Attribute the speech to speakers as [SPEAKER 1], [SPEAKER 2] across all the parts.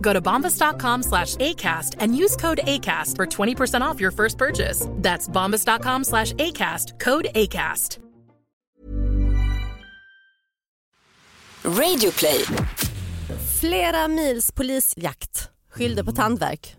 [SPEAKER 1] Go to bombas.com slash ACAST and use code ACAST for 20% off your first purchase. That's bombas.com slash ACAST, code ACAST.
[SPEAKER 2] Radio play.
[SPEAKER 3] Flera mils polisjakt skyllde på tandverk.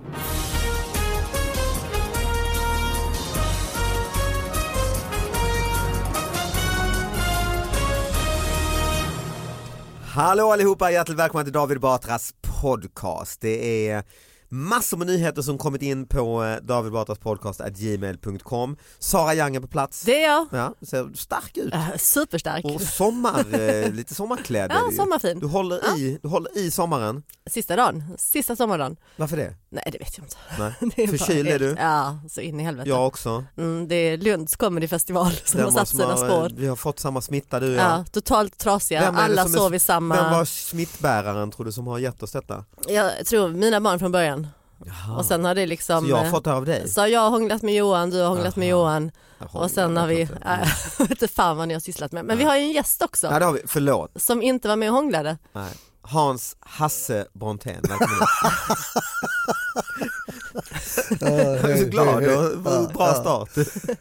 [SPEAKER 4] Hallå allihopa, hjärtligt välkomna till David Batras podcast. Det är massor med nyheter som kommit in på eh, David Batras podcast at gmail.com. Sara Young är på plats.
[SPEAKER 3] Det är jag.
[SPEAKER 4] Ja, ser stark ut.
[SPEAKER 3] Äh, Superstark.
[SPEAKER 4] Och sommar, eh, lite sommarklädd är
[SPEAKER 3] Ja,
[SPEAKER 4] du ju.
[SPEAKER 3] sommarfin.
[SPEAKER 4] Du håller, i, du håller i sommaren.
[SPEAKER 3] Sista dagen, sista sommardagen.
[SPEAKER 4] Varför det?
[SPEAKER 3] Nej det vet jag inte.
[SPEAKER 4] Nej.
[SPEAKER 3] Det bara
[SPEAKER 4] Förkyld är du?
[SPEAKER 3] Ja, så in i helvete.
[SPEAKER 4] Jag också.
[SPEAKER 3] Mm, det är Lunds comedyfestival som har
[SPEAKER 4] Vem var
[SPEAKER 3] satt
[SPEAKER 4] som
[SPEAKER 3] sina
[SPEAKER 4] har, eh,
[SPEAKER 3] spår.
[SPEAKER 4] Vi har fått samma smitta du och jag.
[SPEAKER 3] Ja, totalt trasiga,
[SPEAKER 4] Vem är det
[SPEAKER 3] alla
[SPEAKER 4] som är-
[SPEAKER 3] sov i samma...
[SPEAKER 4] Vem var smittbäraren tror du som har gett oss detta?
[SPEAKER 3] Jag tror mina barn från början. Och sen har det liksom...
[SPEAKER 4] Så jag har
[SPEAKER 3] eh,
[SPEAKER 4] fått det av dig?
[SPEAKER 3] Så jag har hånglat med Johan, du har hånglat med Johan och sen har vi,
[SPEAKER 4] Jag vet inte.
[SPEAKER 3] äh, jag vet inte fan vad ni har sysslat med. Men vi har ju en gäst också
[SPEAKER 4] Ja det har vi, förlåt.
[SPEAKER 3] som inte var med och hånglade.
[SPEAKER 4] Nej. Hans Hasse Brontén, välkommen hit. Jag är så glad, det var en bra start.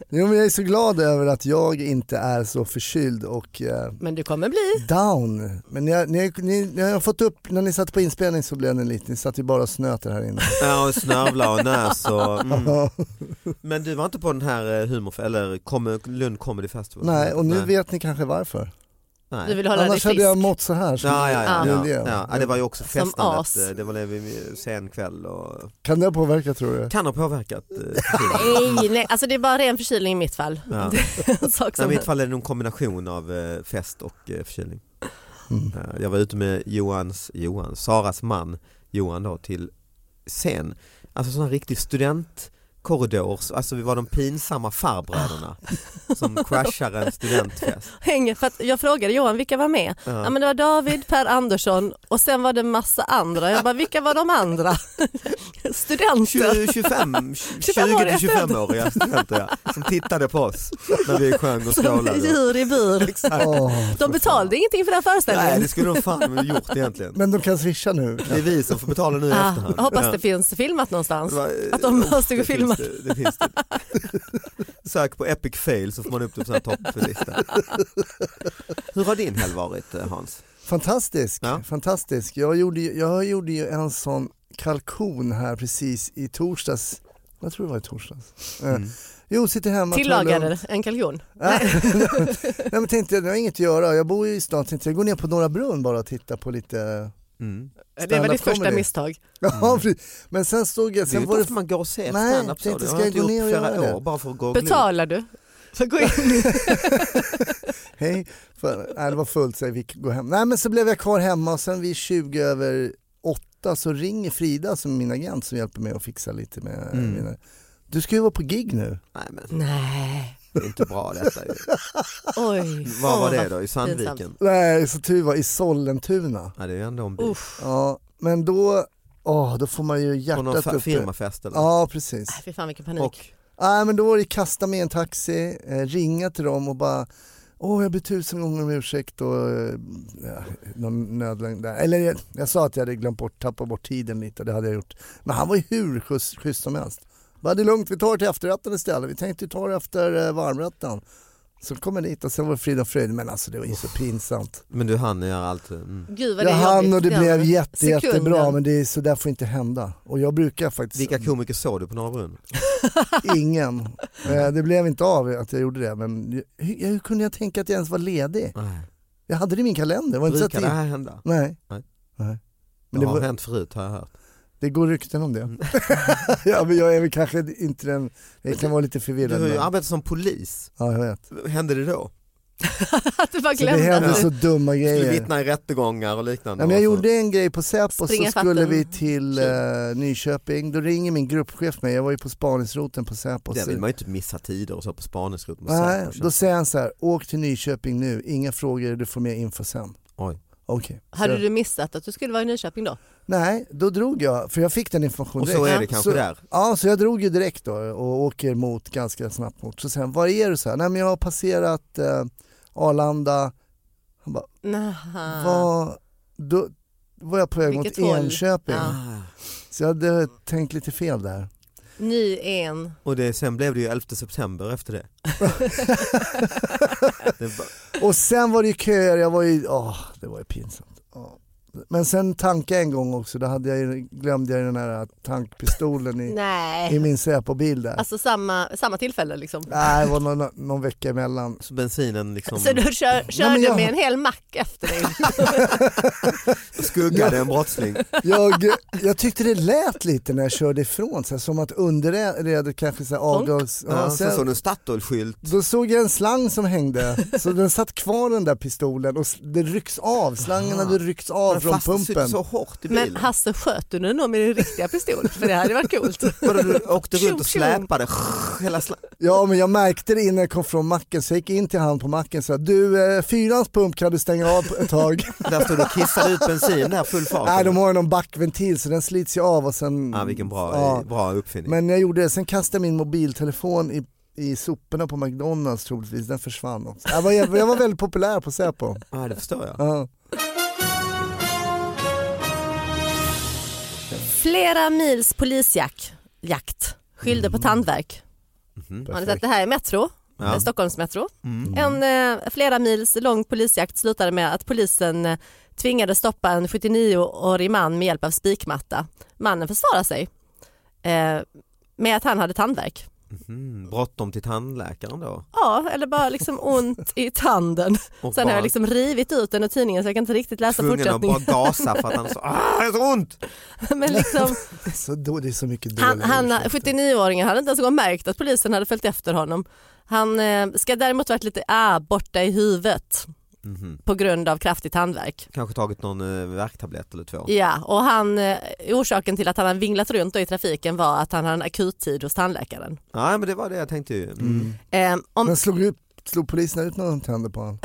[SPEAKER 5] Jo, men jag är så glad över att jag inte är så förkyld och eh,
[SPEAKER 3] Men du kommer bli.
[SPEAKER 5] down. Men när jag, när, jag, ni, när jag har fått upp, när ni satt på inspelning så blev ni lite, ni satt ju bara och snöter här inne.
[SPEAKER 4] Ja, och snövla och näs och... Mm. Men du var inte på den här eh, humor, eller kom, Lund Comedy Festival?
[SPEAKER 5] Nej, och nu vet ni kanske varför.
[SPEAKER 4] Nej.
[SPEAKER 3] Du vill hålla dig
[SPEAKER 5] Annars hade
[SPEAKER 3] frisk.
[SPEAKER 5] jag mått så här. som-
[SPEAKER 4] Ja, ja, ja,
[SPEAKER 5] det
[SPEAKER 4] ja,
[SPEAKER 5] är
[SPEAKER 4] ja.
[SPEAKER 5] det.
[SPEAKER 4] ja. det var ju också
[SPEAKER 3] Som
[SPEAKER 4] festandet,
[SPEAKER 3] as.
[SPEAKER 4] eh, det var det vi sen kväll och
[SPEAKER 5] Kan det ha påverkat tror du?
[SPEAKER 4] kan ha påverkat. eh, förkylningen.
[SPEAKER 3] Nej, nej, alltså det är bara ren förkylning i mitt fall.
[SPEAKER 4] Ja.
[SPEAKER 3] Det är en sak
[SPEAKER 4] Nej,
[SPEAKER 3] som...
[SPEAKER 4] I mitt fall är det nog en kombination av eh, fest och eh, förkylning.
[SPEAKER 3] Mm.
[SPEAKER 4] Eh, Jag var ute med Johans, Johan, Saras man Johan då till scen. Alltså sån här riktig studentkorridors, alltså vi var de pinsamma farbröderna
[SPEAKER 3] Ah.
[SPEAKER 4] som crashar en studentfest.
[SPEAKER 3] hänger, för att jag frågade Johan vilka var med? Ja. men det var David, Per Andersson och sen var det massa andra. Jag bara vilka var de andra? Studenter.
[SPEAKER 4] 20, 25,
[SPEAKER 3] 25 åriga
[SPEAKER 4] 20-25-åriga studenter ja, som tittade på oss när vi sjöng och
[SPEAKER 3] Som
[SPEAKER 4] skålade.
[SPEAKER 3] djur i bur. liksom?
[SPEAKER 5] Åh.
[SPEAKER 3] De betalade ingenting för den
[SPEAKER 4] Nej
[SPEAKER 3] här föreställningen.
[SPEAKER 4] det skulle de fan ha gjort egentligen.
[SPEAKER 5] Men de kan swisha nu.
[SPEAKER 4] Det är vi som får betala nu i
[SPEAKER 3] Ah,
[SPEAKER 4] efterhand.
[SPEAKER 3] jag hoppas
[SPEAKER 4] Ja.
[SPEAKER 3] det finns filmat någonstans.
[SPEAKER 4] Det var-
[SPEAKER 3] Att de bara stod
[SPEAKER 4] eh, det
[SPEAKER 3] och filmade.
[SPEAKER 4] finns det, det finns det. Sök på epic fail så får man upp det på sån här topplista. Hur har din helg varit eh, Hans?
[SPEAKER 5] Fantastisk,
[SPEAKER 4] Ja.
[SPEAKER 5] fantastisk. Jag gjorde, ju, jag gjorde ju en sån kalkon här precis i torsdags. Jag tror det var i torsdags. Eh,
[SPEAKER 4] Mm.
[SPEAKER 5] Jo, sitter hemma. tar det lugnt.
[SPEAKER 3] Tillagade en kalkon.
[SPEAKER 5] Nej. Nej men tänkte jag, jag har inget att göra, jag bor ju i stan, tänkte jag går ner på Norra Brunn bara och titta på lite
[SPEAKER 4] Mm.
[SPEAKER 3] Det var
[SPEAKER 5] Stand-up
[SPEAKER 3] ditt första
[SPEAKER 5] comedy.
[SPEAKER 3] misstag.
[SPEAKER 5] Ja, precis. men sen stod jag,
[SPEAKER 4] Sen
[SPEAKER 5] sen
[SPEAKER 4] Mm. det
[SPEAKER 5] var
[SPEAKER 4] är
[SPEAKER 5] det
[SPEAKER 4] ju man går och ser
[SPEAKER 5] Nej,
[SPEAKER 4] standup så.
[SPEAKER 5] tänkte,
[SPEAKER 4] Det
[SPEAKER 5] ska
[SPEAKER 4] har jag
[SPEAKER 5] jag
[SPEAKER 4] inte
[SPEAKER 5] gå
[SPEAKER 4] gjort
[SPEAKER 5] ner och
[SPEAKER 4] flera
[SPEAKER 5] göra det?
[SPEAKER 4] år bara för att gå och glo.
[SPEAKER 3] Betalar du? För att gå in.
[SPEAKER 5] hej, för, nej, det var fullt så jag fick gå hem. Nej men så blev jag kvar hemma och sen vid 20 över 8 så ringer Frida som är min agent som hjälper mig att fixa lite med
[SPEAKER 4] Mm.
[SPEAKER 5] mina... Du ska ju vara på gig nu.
[SPEAKER 4] Nej men
[SPEAKER 3] Nej,
[SPEAKER 4] det är inte bra detta ju.
[SPEAKER 3] oj.
[SPEAKER 4] Vad var
[SPEAKER 3] Åh,
[SPEAKER 4] det
[SPEAKER 3] vad
[SPEAKER 4] då? I Sandviken?
[SPEAKER 3] pinsamt.
[SPEAKER 5] Nej, så tur var i Sollentuna.
[SPEAKER 4] Ja det är ju ändå en bit.
[SPEAKER 3] Uff,
[SPEAKER 5] Ja, men då, åh, då får man ju
[SPEAKER 4] På någon
[SPEAKER 5] hjärtat
[SPEAKER 4] fa-
[SPEAKER 5] uppe.
[SPEAKER 4] firmafest eller?
[SPEAKER 5] Ja, precis.
[SPEAKER 3] fy fan vilken panik.
[SPEAKER 4] Och
[SPEAKER 5] Nej men då var det kasta mig i en taxi, eh, ringa till dem och bara
[SPEAKER 4] Åh, jag ber tusen gånger om ursäkt och eh, ja, någon nödlängd där. Eller jag, jag sa att jag hade glömt bort, tappat bort tiden lite, det hade jag gjort. Men han var ju hur schysst, schysst som helst. Bara det är lugnt, vi tar det till efterrätten istället. Vi tänkte ju ta det efter eh, varmrätten. Så kom jag dit och sen var det frid och fröjd. Men alltså det var ju så pinsamt.
[SPEAKER 6] Men du han gör allt. Mm.
[SPEAKER 3] Gud vad det
[SPEAKER 4] Jag
[SPEAKER 3] är
[SPEAKER 4] hann och det
[SPEAKER 3] jobbigt.
[SPEAKER 4] blev jätte,
[SPEAKER 3] Sekunden.
[SPEAKER 4] jättebra men det är, så där får inte hända. Och jag brukar faktiskt
[SPEAKER 6] Vilka komiker såg du på Norra Brunn?
[SPEAKER 4] ingen. Eh, Det blev inte av att jag gjorde det men hur, hur kunde jag tänka att jag ens var ledig?
[SPEAKER 6] Nej.
[SPEAKER 4] Jag hade det i min kalender. Var inte
[SPEAKER 6] Brukar
[SPEAKER 4] satt
[SPEAKER 6] det
[SPEAKER 4] in.
[SPEAKER 6] här hända?
[SPEAKER 4] Nej.
[SPEAKER 6] Nej.
[SPEAKER 4] Nej.
[SPEAKER 6] Men
[SPEAKER 4] Men
[SPEAKER 6] det
[SPEAKER 4] det
[SPEAKER 6] har
[SPEAKER 4] var-
[SPEAKER 6] hänt förut har jag hört. Mm.
[SPEAKER 4] Det går rykten om det. ja, men jag är väl kanske inte den, jag kan vara lite
[SPEAKER 6] Du
[SPEAKER 4] förvirrad.
[SPEAKER 6] har ju
[SPEAKER 4] men-
[SPEAKER 6] arbetat som polis.
[SPEAKER 4] Ja, jag vet.
[SPEAKER 6] Hände det då?
[SPEAKER 3] Att du bara
[SPEAKER 4] Så det
[SPEAKER 3] glömde.
[SPEAKER 4] händer
[SPEAKER 3] att du-
[SPEAKER 4] så dumma
[SPEAKER 6] Skulle
[SPEAKER 4] grejer.
[SPEAKER 6] vittna i rättegångar och liknande?
[SPEAKER 4] Nej, men jag
[SPEAKER 6] Och så-
[SPEAKER 4] gjorde en grej på Säpo så
[SPEAKER 3] Springa i
[SPEAKER 4] skulle
[SPEAKER 3] fatten.
[SPEAKER 4] vi till eh, Nyköping. Då ringer min gruppchef mig, jag var ju på spaningsroten på Säpo.
[SPEAKER 6] Det
[SPEAKER 4] Så-
[SPEAKER 6] vill man ju inte missa tider och så på spaningsrot. med
[SPEAKER 4] Nej,
[SPEAKER 6] Säpo.
[SPEAKER 4] då säger han så här, åk till Nyköping nu, inga frågor, du får mer info sen.
[SPEAKER 6] Oj.
[SPEAKER 4] Okej.
[SPEAKER 3] Hade
[SPEAKER 4] Så-
[SPEAKER 3] du missat att du skulle vara i Nyköping då?
[SPEAKER 4] Nej, då drog jag, för jag fick den informationen
[SPEAKER 6] Och så
[SPEAKER 4] direkt.
[SPEAKER 6] är det kanske
[SPEAKER 4] så,
[SPEAKER 6] där.
[SPEAKER 4] Ja, så jag drog ju direkt då och åker mot ganska snabbt mot. Så sen, var är du? Så här, Nej men jag har passerat eh, Arlanda, han bara,
[SPEAKER 3] Naha.
[SPEAKER 4] var, då var jag på väg mot
[SPEAKER 3] Vilket håll?
[SPEAKER 4] Enköping.
[SPEAKER 3] Ja.
[SPEAKER 4] Så jag hade tänkt lite fel där.
[SPEAKER 3] Ny en.
[SPEAKER 6] Och det, sen blev det ju 11 september efter det. det var,
[SPEAKER 4] Och sen var det ju köer, jag var ju, åh, det var ju pinsamt. Ja. Men sen tankade jag en gång också, då hade jag, ju- glömde jag ju den här tankpistolen i, i
[SPEAKER 3] Nej.
[SPEAKER 4] min Säpo-bil där.
[SPEAKER 3] Alltså samma, samma tillfälle liksom.
[SPEAKER 4] Nej, det var någon, någon vecka emellan.
[SPEAKER 6] så Ah, bensinen liksom
[SPEAKER 3] Så du kör, körde
[SPEAKER 4] men jag-
[SPEAKER 3] med en hel mack efter dig?
[SPEAKER 6] skuggade en brottsling.
[SPEAKER 4] Jag, jag tyckte det lät lite när jag körde ifrån, så här, som att underredet kanske så här avgavs.
[SPEAKER 6] Ja,
[SPEAKER 4] Ja,
[SPEAKER 6] sen såg
[SPEAKER 4] sen,
[SPEAKER 6] du en Statoil-skylt.
[SPEAKER 4] då såg jag en slang som hängde, så den satt kvar den där pistolen och s- det rycks av, slangen hade ryckts av
[SPEAKER 6] Den
[SPEAKER 4] från
[SPEAKER 6] fastnade
[SPEAKER 4] pumpen.
[SPEAKER 6] så hårt i bilen.
[SPEAKER 3] Men Hasse sköt du den då med din riktiga pistol? För det hade varit coolt.
[SPEAKER 6] Vadå, du åkte runt och
[SPEAKER 3] Tjo, tjo.
[SPEAKER 6] släpade hela sla-
[SPEAKER 4] Ja men jag märkte det innan jag kom från macken, så jag gick in till han på macken och sa du, eh, fyrans pump kan du stänga av ett tag.
[SPEAKER 6] Där stod du och kissade ut bensin där full fart.
[SPEAKER 4] Nej de har ju någon backventil så den slits ju av och sen...
[SPEAKER 6] Ja, vilken bra,
[SPEAKER 4] Ja.
[SPEAKER 6] bra uppfinning.
[SPEAKER 4] Men jag gjorde det, sen kastade jag min mobiltelefon i, i soporna på McDonalds troligtvis, den försvann också. Jag var, jag var väldigt populär på Säpo.
[SPEAKER 6] Ja, det förstår jag.
[SPEAKER 4] Ja.
[SPEAKER 3] Flera mils polisjakt jakt, skyllde
[SPEAKER 6] Mm.
[SPEAKER 3] på tandvärk.
[SPEAKER 6] Mhm.
[SPEAKER 3] Har ni sett det här i Metro? eh, Stockholms Metro.
[SPEAKER 6] Mm.
[SPEAKER 3] En eh, flera mils lång polisjakt slutade med att polisen eh, tvingades stoppa en 79-årig man med hjälp av spikmatta. Mannen försvarade sig eh, med att han hade tandvärk.
[SPEAKER 6] Mm, bråttom till tandläkaren då.
[SPEAKER 3] Ja, eller bara liksom ont i tanden.
[SPEAKER 6] Och
[SPEAKER 3] Sen har
[SPEAKER 6] bara-
[SPEAKER 3] jag liksom rivit ut den ur tidningen så jag kan inte riktigt
[SPEAKER 4] Alltså,
[SPEAKER 3] läsa
[SPEAKER 6] Tvungen att bara
[SPEAKER 3] fortsättningen.
[SPEAKER 6] gasa för att han sa ah, det är så ont.
[SPEAKER 3] Men liksom,
[SPEAKER 4] Så då, det är så mycket dåliga
[SPEAKER 3] Han, han,
[SPEAKER 4] ursäkter.
[SPEAKER 3] 79-åringen hade inte ens en gång märkt att polisen hade följt efter honom. Han eh, ska däremot varit lite ah, borta i huvudet
[SPEAKER 6] Mhm.
[SPEAKER 3] på grund av kraftig tandvärk.
[SPEAKER 6] Kanske tagit någon eh, värktablett eller två.
[SPEAKER 3] Ja, och han, eh, orsaken till att han hade vinglat runt då i trafiken var att han hade en akuttid hos tandläkaren.
[SPEAKER 6] Ja men det var det jag tänkte ju. Mm.
[SPEAKER 3] Eh, om,
[SPEAKER 4] Men slog, ut, slog polisen ut några tänder på honom?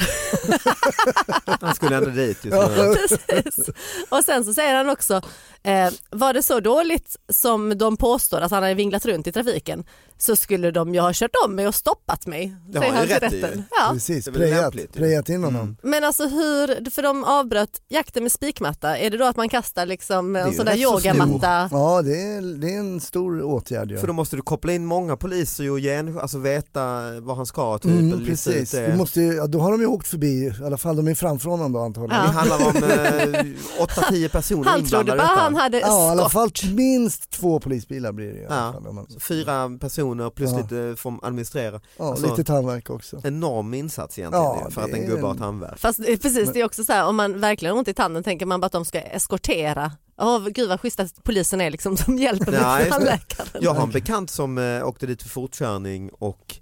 [SPEAKER 6] Han skulle ändå dit just nu.
[SPEAKER 3] precis. Och sen så säger han också, eh, var det så dåligt som de påstår att han hade vinglat runt i trafiken så skulle de ju ha kört om mig och stoppat mig.
[SPEAKER 6] Det
[SPEAKER 3] säger
[SPEAKER 6] har
[SPEAKER 3] han
[SPEAKER 6] ju
[SPEAKER 3] till
[SPEAKER 6] rätt i.
[SPEAKER 3] rätten. Ja.
[SPEAKER 4] Precis,
[SPEAKER 6] Det är väl
[SPEAKER 4] prejat,
[SPEAKER 6] lämpligt, ju.
[SPEAKER 4] prejat in honom.
[SPEAKER 3] Men alltså hur, för de avbröt jakten med spikmatta, är det då att man kastar liksom
[SPEAKER 6] är
[SPEAKER 3] en
[SPEAKER 6] ju
[SPEAKER 3] sån där
[SPEAKER 6] rätt så
[SPEAKER 3] yogamatta?
[SPEAKER 4] Ja det är, det är en stor åtgärd ju.
[SPEAKER 6] För då måste du koppla in många poliser och gen, alltså veta vad han ska typ.
[SPEAKER 4] Mm,
[SPEAKER 6] eller lista
[SPEAKER 4] precis,
[SPEAKER 6] ut det.
[SPEAKER 4] du måste, ju- ja, då har de ju åkt förbi, i alla fall de är framför honom då antagligen.
[SPEAKER 6] Det
[SPEAKER 3] Ja.
[SPEAKER 6] handlar om eh, 8-10 personer
[SPEAKER 3] Han trodde
[SPEAKER 6] inblandade
[SPEAKER 3] bara
[SPEAKER 6] i detta.
[SPEAKER 3] han hade
[SPEAKER 4] Ja, i alla
[SPEAKER 3] skott.
[SPEAKER 4] fall minst två polisbilar blir det ju. i alla
[SPEAKER 6] Ja.
[SPEAKER 4] fall, om man-
[SPEAKER 6] Fyra personer plus
[SPEAKER 4] Ja.
[SPEAKER 6] lite från administrera.
[SPEAKER 4] Ja,
[SPEAKER 6] Alltså-
[SPEAKER 4] Lite tandvärk också.
[SPEAKER 6] Enorm insats egentligen
[SPEAKER 4] Ja,
[SPEAKER 6] ju, för
[SPEAKER 4] det
[SPEAKER 6] att en
[SPEAKER 4] är
[SPEAKER 6] gubbe har
[SPEAKER 4] en-
[SPEAKER 6] tandvärk.
[SPEAKER 3] Fast det är precis, det är också så här, om man verkligen har ont i tanden tänker man bara att de ska eskortera. Åh gud vad schysst att polisen är liksom som
[SPEAKER 6] Ja,
[SPEAKER 3] hjälper mig
[SPEAKER 6] just
[SPEAKER 3] till
[SPEAKER 6] det.
[SPEAKER 3] tandläkaren.
[SPEAKER 6] Jag har en bekant som eh, åkte dit för fortkörning och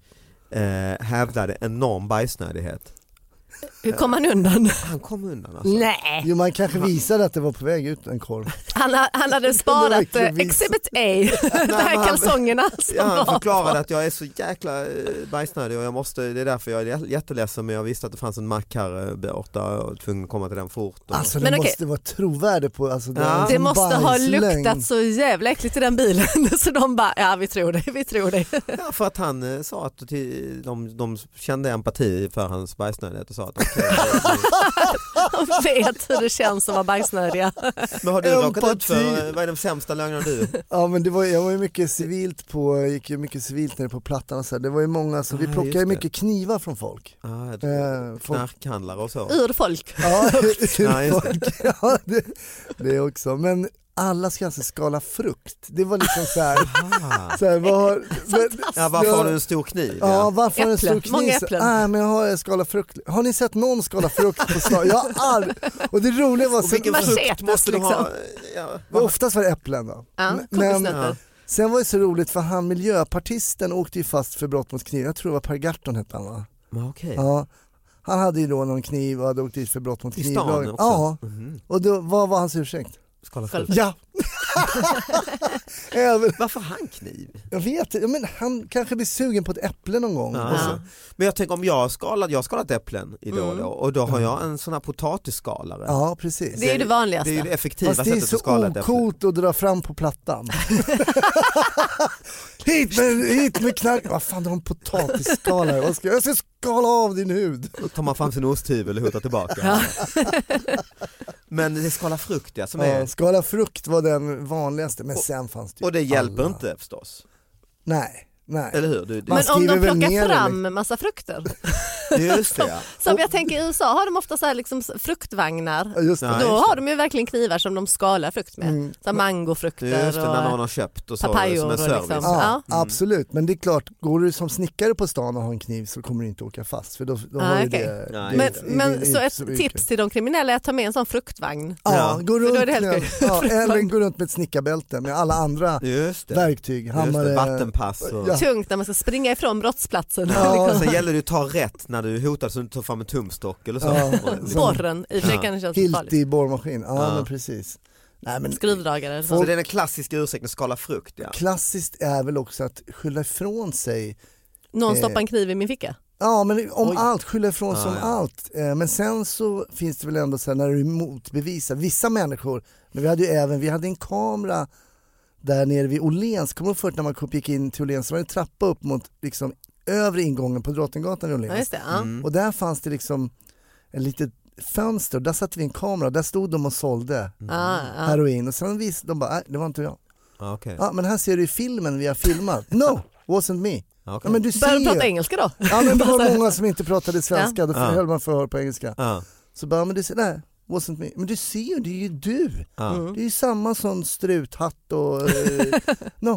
[SPEAKER 6] eh, hävdade enorm bajsnödighet.
[SPEAKER 3] Hur kom han undan?
[SPEAKER 6] Han kom undan alltså.
[SPEAKER 3] Nej,
[SPEAKER 6] Alltså,
[SPEAKER 4] Jo man kanske visade att det var på väg ut en korv.
[SPEAKER 3] Han, ha- han hade sparat eh,
[SPEAKER 4] verkligen visa.
[SPEAKER 3] Exhibit A, de
[SPEAKER 6] men
[SPEAKER 3] här
[SPEAKER 6] han-
[SPEAKER 3] kalsongerna som
[SPEAKER 6] Ja, han
[SPEAKER 3] var
[SPEAKER 6] förklarade
[SPEAKER 3] på.
[SPEAKER 6] att jag är så jäkla eh, bajsnödig och jag måste, det är därför jag är jä- jätteledsen men jag visste att det fanns en mack här eh, borta och jag var tvungen att komma till den fort. Och...
[SPEAKER 4] Alltså det
[SPEAKER 3] Men okej.
[SPEAKER 4] måste vara trovärde på, alltså, det,
[SPEAKER 6] Ja.
[SPEAKER 4] är en
[SPEAKER 3] Det måste ha
[SPEAKER 4] bajslögn.
[SPEAKER 3] luktat så jävla äckligt i den bilen så de bara, ja vi tror det, vi tror det.
[SPEAKER 6] Ja, för att han eh, sa att till- de, de kände empati för hans bajsnödighet och sa att okej,
[SPEAKER 3] De vet hur det känns att vara bajsnödiga.
[SPEAKER 6] men har du råkat ut
[SPEAKER 4] Empati.
[SPEAKER 6] för, eh, vad är den sämsta lögnen du?
[SPEAKER 4] Ja men det var, jag var ju mycket civilt på, gick ju mycket civilt nere på Plattan och så här. det var ju många, så vi
[SPEAKER 6] Ah,
[SPEAKER 4] plockade
[SPEAKER 6] just
[SPEAKER 4] ju
[SPEAKER 6] det.
[SPEAKER 4] mycket knivar från folk.
[SPEAKER 6] Ah, jag tror-
[SPEAKER 4] Eh, folk
[SPEAKER 6] Knarkhandlare och så.
[SPEAKER 3] Ur folk.
[SPEAKER 4] ja,
[SPEAKER 6] Ja, just
[SPEAKER 4] folk ja, det, det också, men alla ska alltså skala frukt, det var liksom så här,
[SPEAKER 6] Ah.
[SPEAKER 4] så här vad har, men,
[SPEAKER 6] Ja, varför har du en stor kniv?
[SPEAKER 4] Ja, varför har du en stor
[SPEAKER 3] Äpplen.
[SPEAKER 4] kniv?
[SPEAKER 3] Många äpplen.
[SPEAKER 4] Nej, men jag har skalat frukt. Har ni sett någon skala frukt på slag? Jag har aldrig... Och det roliga var,
[SPEAKER 6] Och vilken
[SPEAKER 4] sen,
[SPEAKER 6] frukt
[SPEAKER 3] Machetes,
[SPEAKER 6] måste du ha?
[SPEAKER 3] liksom.
[SPEAKER 6] Ja, vad-
[SPEAKER 4] oftast var det äpplen då.
[SPEAKER 3] Ja,
[SPEAKER 4] Men-
[SPEAKER 3] kokosnötter.
[SPEAKER 6] Ja.
[SPEAKER 4] Sen var det så roligt för han miljöpartisten åkte ju fast för brott mot kniv. Jag tror det var Per Gahrton hette han va?
[SPEAKER 6] Men okej.
[SPEAKER 4] Ja. Han hade ju då någon kniv och hade åkt dit för brott mot
[SPEAKER 6] I
[SPEAKER 4] kniv.
[SPEAKER 6] stan också?
[SPEAKER 4] Ja,
[SPEAKER 6] Mhm.
[SPEAKER 4] och då, vad var hans ursäkt?
[SPEAKER 6] Skala
[SPEAKER 3] Skala
[SPEAKER 6] frukt.
[SPEAKER 4] Ja! Även,
[SPEAKER 6] Varför har han kniv?
[SPEAKER 4] jag vet inte, men han kanske blir sugen på ett äpple någon gång.
[SPEAKER 6] Ja.
[SPEAKER 4] Och så-
[SPEAKER 6] Alltså, Men jag tänker om jag har skalat, jag har skalat äpplen idag då, och då har jag en sån här potatisskalare.
[SPEAKER 4] ja precis.
[SPEAKER 3] Det är ju det
[SPEAKER 6] Det
[SPEAKER 3] vanligaste.
[SPEAKER 6] är ju det effektiva
[SPEAKER 4] Fast det är
[SPEAKER 6] sättet
[SPEAKER 4] så
[SPEAKER 6] att skala ett äpple.
[SPEAKER 4] ocoolt att dra fram på plattan. hit, med, hit med knark. Vad fan, du har en potatisskalare. Vad ska jag- Jag ska skala av din hud.
[SPEAKER 6] Då tar man fram sin osthyvel och hotar tillbaka. Men det är skala frukt ja, som
[SPEAKER 4] Ja,
[SPEAKER 6] är...
[SPEAKER 4] skala frukt var den vanligaste, men
[SPEAKER 6] Och-
[SPEAKER 4] sen fanns det ju
[SPEAKER 6] Och det hjälper
[SPEAKER 4] alla.
[SPEAKER 6] inte förstås.
[SPEAKER 4] Nej, nej.
[SPEAKER 6] Eller hur? Du, du,
[SPEAKER 4] Man
[SPEAKER 3] Men om de
[SPEAKER 4] skriver väl ner
[SPEAKER 3] plockar
[SPEAKER 4] det,
[SPEAKER 3] fram massa frukter.
[SPEAKER 6] just det ja.
[SPEAKER 3] Som jag tänker i USA har de ofta så här liksom fruktvagnar.
[SPEAKER 4] Ja, Just
[SPEAKER 6] Ja,
[SPEAKER 4] det.
[SPEAKER 3] Då
[SPEAKER 6] just det.
[SPEAKER 3] har de ju verkligen knivar som de skalar frukt med.
[SPEAKER 4] Mm.
[SPEAKER 3] Så här mangofrukter
[SPEAKER 6] Just det, när någon har köpt och så,
[SPEAKER 3] papayor
[SPEAKER 6] som en
[SPEAKER 3] och
[SPEAKER 6] service.
[SPEAKER 3] liksom.
[SPEAKER 4] Ja,
[SPEAKER 3] Ja.
[SPEAKER 4] Absolut, men det är klart, går du som snickare på stan och har en kniv så kommer du inte åka fast. För då, då
[SPEAKER 3] Ah,
[SPEAKER 4] har ju
[SPEAKER 3] okej.
[SPEAKER 4] det,
[SPEAKER 6] Nej,
[SPEAKER 4] det,
[SPEAKER 3] Men,
[SPEAKER 4] det- det-
[SPEAKER 3] men
[SPEAKER 4] det-
[SPEAKER 3] så
[SPEAKER 4] det-
[SPEAKER 3] ett tips till de kriminella är att ta med en sån fruktvagn.
[SPEAKER 4] Ja,
[SPEAKER 6] Ja.
[SPEAKER 4] gå
[SPEAKER 3] då är
[SPEAKER 4] runt
[SPEAKER 3] det helt
[SPEAKER 4] med,
[SPEAKER 3] sjukt.
[SPEAKER 4] ja, eller gå runt med ett snickarbälte med alla andra
[SPEAKER 6] Just det.
[SPEAKER 4] verktyg.
[SPEAKER 6] Just det.
[SPEAKER 4] Hammare,
[SPEAKER 6] Vattenpass och...
[SPEAKER 4] Ja.
[SPEAKER 3] Tungt när man ska springa ifrån brottsplatsen.
[SPEAKER 6] Ja.
[SPEAKER 3] Liksom.
[SPEAKER 6] Sen gäller det att ta rätt när du hotar så du inte tar fram en tumstock eller så.
[SPEAKER 4] Ja.
[SPEAKER 6] Och liksom-
[SPEAKER 3] Borren, i och för sig
[SPEAKER 6] Ja.
[SPEAKER 3] kan det kännas lite
[SPEAKER 4] Hilt
[SPEAKER 3] farligt.
[SPEAKER 4] i borrmaskin, ja,
[SPEAKER 6] Ja.
[SPEAKER 4] men precis. Nej, men
[SPEAKER 3] Skruvdragare. eller
[SPEAKER 6] Så
[SPEAKER 3] så.
[SPEAKER 6] det är den klassiska ursäkten, skala frukt ja.
[SPEAKER 4] klassiskt är väl också att skylla ifrån sig.
[SPEAKER 3] Någon stoppar en kniv i min ficka.
[SPEAKER 4] Ja men om
[SPEAKER 6] Oj. Ah,
[SPEAKER 4] allt, skylla ifrån sig
[SPEAKER 6] Ja,
[SPEAKER 4] om
[SPEAKER 6] ja.
[SPEAKER 4] allt. Eh, Men sen så finns det väl ändå så här när du motbevisar, vissa människor, men vi hade ju även, vi hade en kamera där nere vid Åhléns, kommer du ihåg förut när man gick in till Åhléns så var det en trappa upp mot liksom övre ingången på Drottninggatan vid
[SPEAKER 3] Ja,
[SPEAKER 4] Åhléns.
[SPEAKER 3] just det. Ja.
[SPEAKER 4] Och där fanns det liksom en litet fönster och där satte vi en kamera och där stod de och sålde
[SPEAKER 3] Ja, ja.
[SPEAKER 4] heroin och sen visade de bara, nej det var inte jag.
[SPEAKER 6] Ja, okej.
[SPEAKER 4] Ja, men här ser du i filmen vi har filmat. No, wasn't me.
[SPEAKER 6] Ja,
[SPEAKER 4] Ja,
[SPEAKER 6] okej.
[SPEAKER 4] men du
[SPEAKER 3] Börjar
[SPEAKER 4] ser
[SPEAKER 3] de prata
[SPEAKER 4] ju.
[SPEAKER 3] engelska då?
[SPEAKER 4] Ja, men det var många som inte pratade svenska, då
[SPEAKER 6] Ja.
[SPEAKER 4] höll man förhör på engelska.
[SPEAKER 6] Ja,
[SPEAKER 4] Så bara, men du ser, nej, wasn't me. Men du ser ju, det är ju du.
[SPEAKER 6] ja.
[SPEAKER 4] Det är ju samma sån struthatt och eh, no,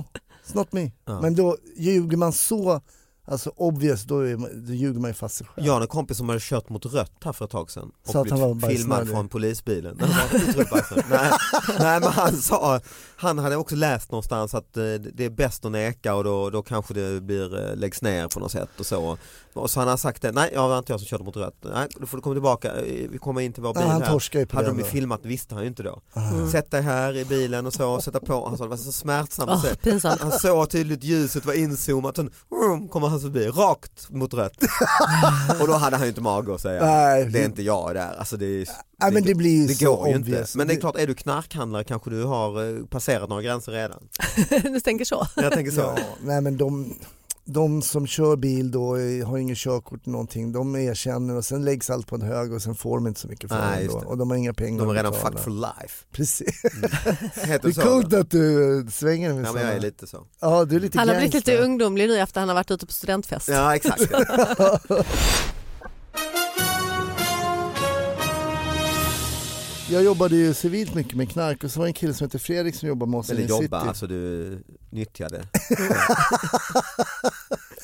[SPEAKER 4] it's not me.
[SPEAKER 6] Ja.
[SPEAKER 4] Men då ljuger man så, alltså obvious, då, är, man- då ljuger man ju fast sig själv.
[SPEAKER 6] Jag har en kompis som hade kört mot rött här för ett tag sedan och
[SPEAKER 4] Så att han var
[SPEAKER 6] blivit filmad
[SPEAKER 4] bajsnödig.
[SPEAKER 6] från polisbilen. Nej, han var inte otroligt bajsnödig. nej, nej men han sa, han hade också läst någonstans att eh, det är bäst att neka och då, då kanske det blir, eh, läggs ner på något sätt och så. Och så han har sagt det, nej jag var inte jag som körde mot rött, nej då får du komma tillbaka, eh, vi kommer in till vår
[SPEAKER 4] Ja,
[SPEAKER 6] bil
[SPEAKER 4] han
[SPEAKER 6] här.
[SPEAKER 4] torskar ju på Ah.
[SPEAKER 6] Hade
[SPEAKER 4] det
[SPEAKER 6] de ju
[SPEAKER 4] ändå.
[SPEAKER 6] filmat visste han ju inte då.
[SPEAKER 4] Mm.
[SPEAKER 6] Sätt dig här i bilen och så, och sätta på, han sa det var så smärtsamt att
[SPEAKER 3] Åh,
[SPEAKER 6] se.
[SPEAKER 3] pinsamt.
[SPEAKER 6] Han såg tydligt ljuset var inzoomat, sen vroom, kommer han förbi, rakt mot rött. Och då hade han ju inte mage att säga
[SPEAKER 4] Nej.
[SPEAKER 6] det är inte jag där. Alltså det, är,
[SPEAKER 4] Nej, men det blir ju
[SPEAKER 6] det
[SPEAKER 4] så
[SPEAKER 6] går ju inte.
[SPEAKER 4] obvious.
[SPEAKER 6] Men det är klart, är du knarkhandlare kanske du har eh, passerat några gränser redan.
[SPEAKER 3] du tänker så?
[SPEAKER 6] Jag tänker så.
[SPEAKER 4] Ja, nej men de, de som kör bil då eh, har inget körkort eller någonting, de erkänner och sen läggs allt på en hög och sen får de inte så mycket för
[SPEAKER 6] Nej,
[SPEAKER 4] det
[SPEAKER 6] just
[SPEAKER 4] ändå.
[SPEAKER 6] det.
[SPEAKER 4] och de har inga pengar
[SPEAKER 6] De är
[SPEAKER 4] att
[SPEAKER 6] redan
[SPEAKER 4] betala.
[SPEAKER 6] fucked for life.
[SPEAKER 4] Precis.
[SPEAKER 6] Heter
[SPEAKER 4] Det är
[SPEAKER 6] så.
[SPEAKER 4] coolt att du eh, svänger med
[SPEAKER 6] Ja, men
[SPEAKER 4] sådana.
[SPEAKER 6] jag är lite så.
[SPEAKER 4] Ja, du är lite
[SPEAKER 3] Han har blivit
[SPEAKER 4] gangster.
[SPEAKER 3] lite ungdomlig nu efter han har varit ute på studentfest.
[SPEAKER 6] Ja exakt.
[SPEAKER 4] Jag jobbade ju civilt mycket med knark och så var det en kille som heter Fredrik som jobbade med oss
[SPEAKER 6] Eller
[SPEAKER 4] i City.
[SPEAKER 6] jobba, alltså du nyttjade.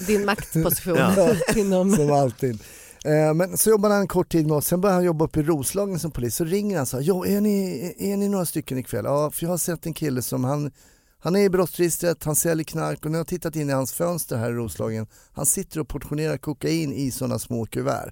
[SPEAKER 3] Din maktposition
[SPEAKER 6] Ja.
[SPEAKER 3] inom...
[SPEAKER 4] Som alltid. Eh, Men så jobbade han en kort tid med oss, sen började han jobba uppe i Roslagen som polis. Så ringer han och sa, jo är ni, är ni några stycken ikväll? Ja, för jag har sett en kille som han, han är i brottsregistret, han säljer knark och nu har jag tittat in i hans fönster här i Roslagen. Han sitter och portionerar kokain i sådana små kuvert.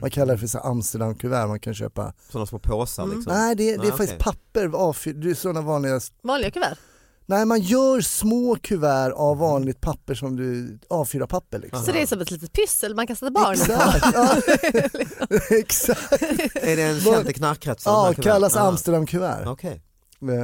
[SPEAKER 4] Man kallar det för så här Amsterdamkuvert man kan köpa.
[SPEAKER 6] Sådana små påsar liksom?
[SPEAKER 4] Mm. Nej det, det är
[SPEAKER 6] Nej,
[SPEAKER 4] faktiskt
[SPEAKER 6] Mm. okej.
[SPEAKER 4] papper, A4, det är sådana vanliga
[SPEAKER 3] Vanliga kuvert.
[SPEAKER 4] Nej, man gör små kuvert av vanligt papper som du, A4-papper liksom.
[SPEAKER 3] Så det är som ett litet pyssel man kan sätta barnen på.
[SPEAKER 4] Exakt, ja. Exakt.
[SPEAKER 6] Är det en känd i knarkkretsen? de här
[SPEAKER 4] Ja,
[SPEAKER 6] kuverten?
[SPEAKER 4] kallas
[SPEAKER 6] Ah,
[SPEAKER 4] Amsterdamkuvert.
[SPEAKER 6] Okej.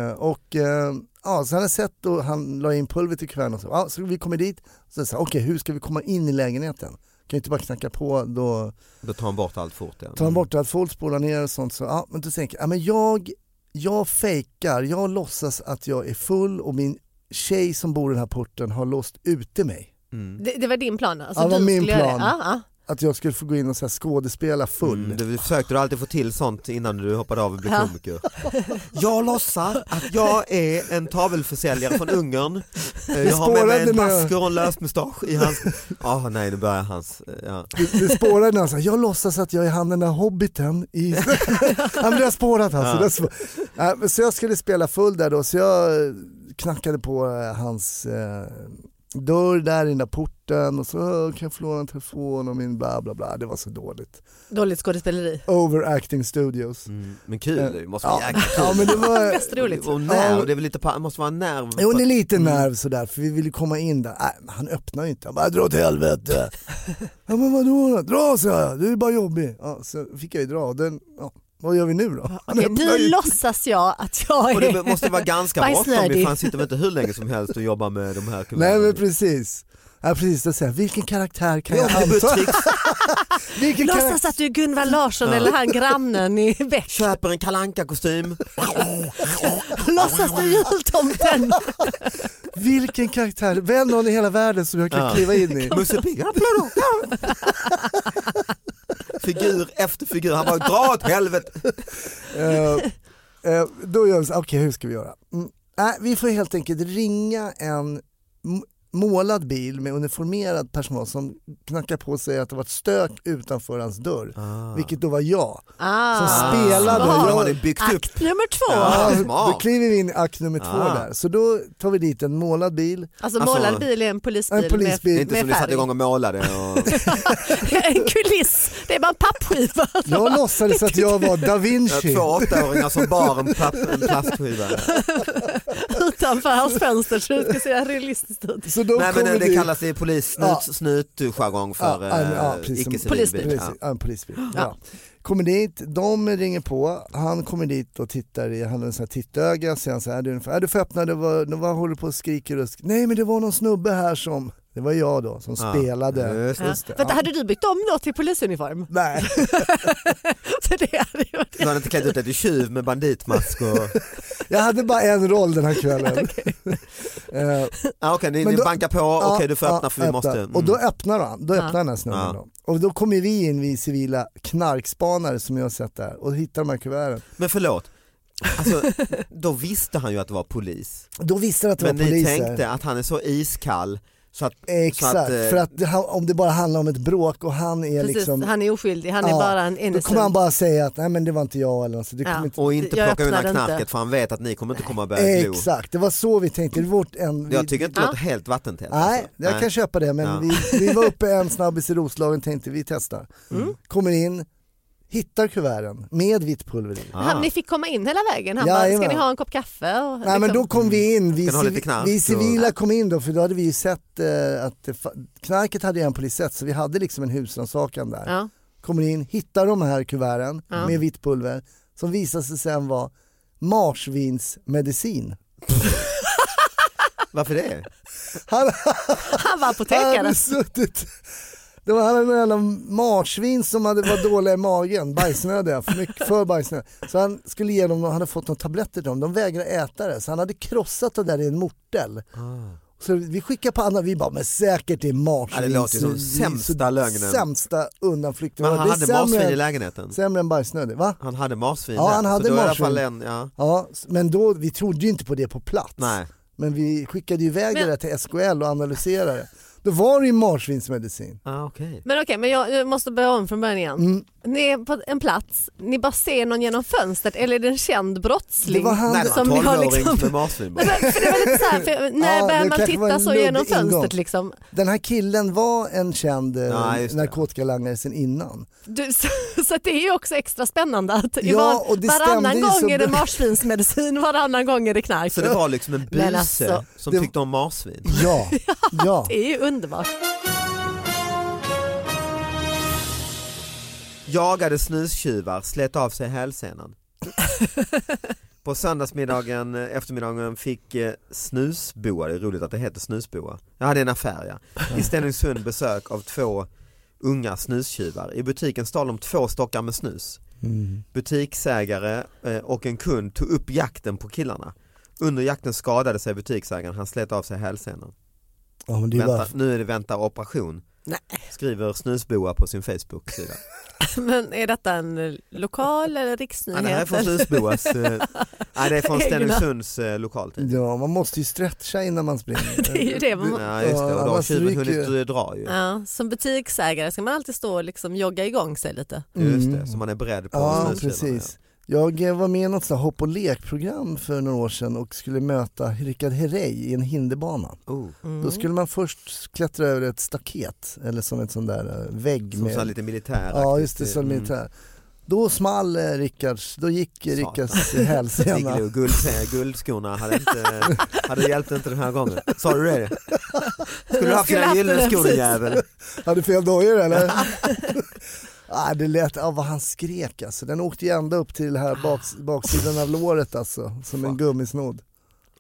[SPEAKER 4] Eh, Och eh, ja, så han har sett och han la in pulvret i kuverten och så, ja, så vi kommer dit, så sa jag, okej hur ska vi komma in i lägenheten? Kan ju inte bara knacka på, då
[SPEAKER 6] Då tar han bort allt fort ja.
[SPEAKER 4] tar han bort allt folk spolar ner och sånt. Så, ja, men då tänker jag, ja, men jag, jag fejkar, jag låtsas att jag är full och min tjej som bor i den här porten har låst ute mig.
[SPEAKER 3] Det, det var din plan? Alltså,
[SPEAKER 4] Ja, det var
[SPEAKER 3] du
[SPEAKER 4] min
[SPEAKER 3] skulle göra det.
[SPEAKER 4] plan.
[SPEAKER 3] Ja, ja.
[SPEAKER 4] att jag skulle få gå in och så här skådespela full.
[SPEAKER 6] Mm, du försökte du alltid få till sånt innan du hoppade av och blev komiker? Jag låtsas att jag är en tavelförsäljare från Ungern. Eh, Jag har med mig en
[SPEAKER 4] spårade med-
[SPEAKER 6] basker och en lösmustasch i hans... Ah nej, nu börjar hans... eh, Ja.
[SPEAKER 4] Det, det spårade när han sa, jag låtsas att jag är han den där hobbiten i... han blev spårat alltså. Det spå... Nej, men så jag skulle spela full där då, så jag eh, knackade på eh, hans eh, dörr där i den där porten och så "Åh, kan jag få låna en telefon och min bla bla bla. Det var så dåligt.
[SPEAKER 3] Dåligt skådespeleri.
[SPEAKER 4] Overacting studios.
[SPEAKER 6] Men kul, det måste vara jäkligt kul.
[SPEAKER 4] Ja men det var...
[SPEAKER 3] Mest roligt.
[SPEAKER 6] Mm. Och nerv, det är väl lite, pa- måste vara en nerv.
[SPEAKER 4] Jo, det är lite
[SPEAKER 3] Mm.
[SPEAKER 4] nerv sådär, för vi ville komma in där. Nej, men han öppnar ju inte. Han bara, dra åt helvete. ja, men vadå då? Dra sa jag, du är bara jobbig. Ja, så fick jag ju dra. Den, ja, vad gör vi nu då? Han
[SPEAKER 3] Okej,
[SPEAKER 4] öppnar
[SPEAKER 3] nu
[SPEAKER 4] ju-
[SPEAKER 3] låtsas jag att jag är
[SPEAKER 6] Och det måste vara ganska bråttom,
[SPEAKER 3] bajsnödig.
[SPEAKER 6] vi fan sitter väl inte hur länge som helst och jobbar med de här
[SPEAKER 4] Nej men precis. Ja, precis, då säger jag, vilken karaktär kan jag anta?
[SPEAKER 6] Jobbigt
[SPEAKER 4] Vilken karaktär?
[SPEAKER 3] Låtsas att du är Gunvald Larsson eller han grannen i Beck.
[SPEAKER 6] köper en kalanka kostym
[SPEAKER 3] Låtsas du är jultomten.
[SPEAKER 4] Vilken karaktär? Välj någon i hela världen som jag kan kliva in i.
[SPEAKER 6] Musse Pigg, ja, blå, blå, blå. Figur efter figur, han bara dra åt helvete.
[SPEAKER 4] Eh, eh, då gör vi så okej hur ska vi göra? Mm. Nej, vi får helt enkelt ringa en m- målad bil med uniformerad personal som knackar på och säger att det varit stök utanför hans dörr,
[SPEAKER 6] Ah.
[SPEAKER 4] vilket då var jag. Som spelade.
[SPEAKER 6] De
[SPEAKER 4] Jag,
[SPEAKER 6] hade byggt upp.
[SPEAKER 3] Ah. Akt nummer två.
[SPEAKER 6] Ja.
[SPEAKER 4] ja,
[SPEAKER 6] smart. Ah.
[SPEAKER 4] då kliver vi in i akt nummer två där, så då tar vi dit en målad bil.
[SPEAKER 3] Alltså
[SPEAKER 6] Alltså,
[SPEAKER 3] målad bil är en polisbil,
[SPEAKER 4] en polisbil.
[SPEAKER 6] Det är
[SPEAKER 3] med,
[SPEAKER 6] inte
[SPEAKER 3] med
[SPEAKER 6] som ni satte
[SPEAKER 3] färg.
[SPEAKER 6] igång och målade. Och...
[SPEAKER 3] en kuliss. Det är bara en pappskiva.
[SPEAKER 4] Jag låtsades att jag var da
[SPEAKER 6] Ja,
[SPEAKER 4] Vinci.
[SPEAKER 6] Två åttaåringar som bar en, platt, en plastskiva.
[SPEAKER 3] utanför hans fönster så det ska se realistiskt ut.
[SPEAKER 4] Så då
[SPEAKER 6] Nej men
[SPEAKER 4] kommer
[SPEAKER 6] det,
[SPEAKER 4] vi-
[SPEAKER 6] kallas i polissnut,
[SPEAKER 4] Ja.
[SPEAKER 6] snutjargong för
[SPEAKER 4] Ja, ja, ja,
[SPEAKER 6] eh,
[SPEAKER 4] precis.
[SPEAKER 6] icke-civil
[SPEAKER 4] Polisbil.
[SPEAKER 6] bil.
[SPEAKER 4] Precis,
[SPEAKER 6] Ja.
[SPEAKER 4] ja, en polisbil. Ja. Kommer dit, de ringer på, han kommer dit och tittar i, han har en sån här tittöga, säger han så här, du, är du får öppna, det var, det var, håller på och skriker och sk- Nej men det var någon snubbe här som, det var jag då, som spelade.
[SPEAKER 6] Just det.
[SPEAKER 4] det.
[SPEAKER 3] Vänta, hade du byggt om då till polisuniform?
[SPEAKER 4] Nej,
[SPEAKER 3] Så det hade ju varit
[SPEAKER 6] Du hade inte klätt ut dig till tjuv med banditmask och...
[SPEAKER 4] jag hade bara en roll den här kvällen. Eh,
[SPEAKER 6] Ah, Okej, ni,
[SPEAKER 4] Men
[SPEAKER 6] ni
[SPEAKER 4] då-
[SPEAKER 6] bankar på, okej
[SPEAKER 4] Ja,
[SPEAKER 6] du får
[SPEAKER 4] ja,
[SPEAKER 6] öppna för vi
[SPEAKER 4] öppna.
[SPEAKER 6] måste... Mm.
[SPEAKER 4] Och då öppnar han, då öppnar den här snubben
[SPEAKER 6] Ja.
[SPEAKER 4] då. Och då kommer vi in, vi civila knarkspanare som jag har sett där och hittar de här kuverten.
[SPEAKER 6] Men förlåt, alltså, då visste han ju att det var polis.
[SPEAKER 4] Då visste de att det
[SPEAKER 6] Men
[SPEAKER 4] var
[SPEAKER 6] ni
[SPEAKER 4] poliser.
[SPEAKER 6] tänkte att han är så iskall så att...
[SPEAKER 4] Exakt,
[SPEAKER 6] så att, eh,
[SPEAKER 4] för att det, han- om det bara handlar om ett bråk och han är
[SPEAKER 3] Precis,
[SPEAKER 4] liksom...
[SPEAKER 3] han är oskyldig, han
[SPEAKER 4] Ja,
[SPEAKER 3] är bara en
[SPEAKER 4] Då
[SPEAKER 3] innocent.
[SPEAKER 4] kommer han bara säga att nej men det var inte jag eller något, så det
[SPEAKER 3] Ja.
[SPEAKER 4] kommer inte...
[SPEAKER 6] Och inte
[SPEAKER 3] Jag
[SPEAKER 6] plocka undan
[SPEAKER 3] öppnade inte.
[SPEAKER 6] knarket för han vet att ni kommer inte komma och börja glo.
[SPEAKER 4] Exakt, det var så vi tänkte. Det var vårt en... vi-
[SPEAKER 6] Jag tycker inte det låter helt vattentätt.
[SPEAKER 4] Nej,
[SPEAKER 6] alltså.
[SPEAKER 4] jag kan köpa det men
[SPEAKER 6] Ja.
[SPEAKER 3] Mm.
[SPEAKER 4] vi, vi var uppe en snabbis i Roslagen tänkte vi testar. Kommer in, hittar kuverten med vitt pulver i.
[SPEAKER 3] Han, ni fick komma in hela vägen. Han bara, ska
[SPEAKER 4] Jajamän.
[SPEAKER 3] ni ha en kopp kaffe? Och, liksom,
[SPEAKER 4] Nej men då kom vi in, vi,
[SPEAKER 6] Kan ha lite
[SPEAKER 4] civi-
[SPEAKER 6] knark
[SPEAKER 4] vi
[SPEAKER 6] och-
[SPEAKER 4] civila kom in då för då hade vi ju sett eh, att det fa- knarket hade ju en polis sett så vi hade liksom en husrannsakan där.
[SPEAKER 3] Ja.
[SPEAKER 4] Kommer in, hittar de här kuverten med vitt pulver som visade sig sen vara marsvinsmedicin.
[SPEAKER 6] Varför det?
[SPEAKER 4] Han,
[SPEAKER 3] Han var
[SPEAKER 4] han
[SPEAKER 3] apotekare.
[SPEAKER 4] hade suttit det var han hade någon jävla marsvin som hade var dåliga i magen, bajsnödiga, för, mycket, för bajsnödiga. Så han skulle ge dem, han hade fått några tabletter till dem, de vägrade äta det. Så han hade krossat det där i en mortel. Så vi skickar på andra, vi bara, men säkert är marsvin.
[SPEAKER 6] Ah. Ja, det låter ju som sämsta lögnen.
[SPEAKER 4] Sämsta undanflykten.
[SPEAKER 6] Men han
[SPEAKER 4] Det är
[SPEAKER 6] hade
[SPEAKER 4] sämre
[SPEAKER 6] marsvin
[SPEAKER 4] än-
[SPEAKER 6] i lägenheten?
[SPEAKER 4] Sämre än bajsnödig, va?
[SPEAKER 6] Han hade marsvin
[SPEAKER 4] Ja,
[SPEAKER 6] där.
[SPEAKER 4] han hade
[SPEAKER 6] så då är det
[SPEAKER 4] marsvin.
[SPEAKER 6] I alla fall en, ja.
[SPEAKER 4] Ja, s- men då, vi trodde ju inte på det på plats.
[SPEAKER 6] Nej.
[SPEAKER 4] Men vi skickade ju iväg
[SPEAKER 3] Men-
[SPEAKER 4] det där till SKL och analyserade det. Då var det ju marsvinsmedicin.
[SPEAKER 6] Ah, okej.
[SPEAKER 3] Men okej, men jag, jag måste börja om från början igen.
[SPEAKER 4] Mm.
[SPEAKER 3] Ni är på en plats, ni bara ser någon genom fönstret eller är det en känd brottsling?
[SPEAKER 4] Det var han-
[SPEAKER 6] Nej, det var en
[SPEAKER 3] som ni har
[SPEAKER 6] 12-åring
[SPEAKER 3] liksom-
[SPEAKER 6] med marsvin.
[SPEAKER 3] Nej, men, för det var lite så här, för när
[SPEAKER 4] Ja,
[SPEAKER 3] börjar
[SPEAKER 4] det
[SPEAKER 3] man
[SPEAKER 4] kanske var
[SPEAKER 3] titta
[SPEAKER 4] en
[SPEAKER 3] så genom
[SPEAKER 4] ludd ingång.
[SPEAKER 3] fönstret liksom?
[SPEAKER 4] Den här killen var en känd
[SPEAKER 6] Ja,
[SPEAKER 4] ja,
[SPEAKER 6] just det.
[SPEAKER 4] narkotikalangare sen innan.
[SPEAKER 3] Du, så, så att det är ju också extra spännande att i
[SPEAKER 4] Ja,
[SPEAKER 3] var,
[SPEAKER 4] och det stämde
[SPEAKER 3] varannan
[SPEAKER 4] ju
[SPEAKER 3] gång
[SPEAKER 4] så
[SPEAKER 3] är det
[SPEAKER 4] bra.
[SPEAKER 3] marsvinsmedicin, varannan gång är det knark.
[SPEAKER 6] Så det var liksom en buse
[SPEAKER 3] alltså,
[SPEAKER 6] som
[SPEAKER 4] det-
[SPEAKER 6] tyckte om marsvin?
[SPEAKER 4] Ja, ja.
[SPEAKER 3] Det är ju underbart.
[SPEAKER 6] Jagade snustjuvar, slet av sig hälsenan. På söndagsmiddagen, eh, eftermiddagen fick eh, snusboa, det är roligt att det heter snusboa, jag hade en affär ja, i Stenungsund besök av två unga snustjuvar. I butiken stal de två stockar med snus.
[SPEAKER 4] Mm.
[SPEAKER 6] Butiksägare eh, och en kund tog upp jakten på killarna. Under jakten skadade sig butiksägaren, han slet av sig hälsenan.
[SPEAKER 4] ja men det är
[SPEAKER 6] Vänta,
[SPEAKER 4] bara...
[SPEAKER 6] nu är det vänta operation,
[SPEAKER 3] Nej.
[SPEAKER 6] skriver snusboa på sin Facebook-sida.
[SPEAKER 3] Men är detta en eh, lokal eller
[SPEAKER 6] Nej,
[SPEAKER 3] riksnyhet?
[SPEAKER 6] det här är från
[SPEAKER 3] eller?
[SPEAKER 6] Susboas, eh, nej det är från
[SPEAKER 3] Egna.
[SPEAKER 6] Stenungsunds eh, lokaltid.
[SPEAKER 4] Ja, man måste ju stretcha innan man springer.
[SPEAKER 3] det är ju det. Man,
[SPEAKER 6] Ja just det, och då har
[SPEAKER 4] Annars
[SPEAKER 6] tjuven
[SPEAKER 4] ryker
[SPEAKER 6] hunnit
[SPEAKER 4] ju.
[SPEAKER 6] eh, dra ju.
[SPEAKER 3] ja, som butiksägare ska man alltid stå och liksom jogga igång sig lite.
[SPEAKER 6] Just det, så man är beredd på
[SPEAKER 4] Mm. Ja,
[SPEAKER 6] snustjuvarna,
[SPEAKER 4] precis. Jag eh, var med i något sånt här hopp och lekprogram för några år sedan och skulle möta Rickard Herrey i en hinderbana.
[SPEAKER 6] ja. Oh,
[SPEAKER 4] Då skulle man först klättra över ett staket eller som ett sån där eh, vägg.
[SPEAKER 6] som
[SPEAKER 4] med...
[SPEAKER 6] så här lite militär. eh, mm.
[SPEAKER 4] Ja, just det, som militär. Då small eh, Rickards, då gick eh,
[SPEAKER 6] Satan.
[SPEAKER 4] Rickards eh, hälsena.
[SPEAKER 6] Guld, eh, guldskorna hade inte, hade hjälpt inte den här gången. Sa du det? Skulle du haft
[SPEAKER 3] Skulle
[SPEAKER 6] dina
[SPEAKER 3] haft
[SPEAKER 6] gyllene
[SPEAKER 3] det,
[SPEAKER 6] skor din
[SPEAKER 3] precis.
[SPEAKER 6] jävel?
[SPEAKER 4] Hade fel dojor eller? ah, det lät, ah, vad han skrek alltså. Den åkte ju ända upp till här baks, baksidan av låret alltså, som en gummisnodd.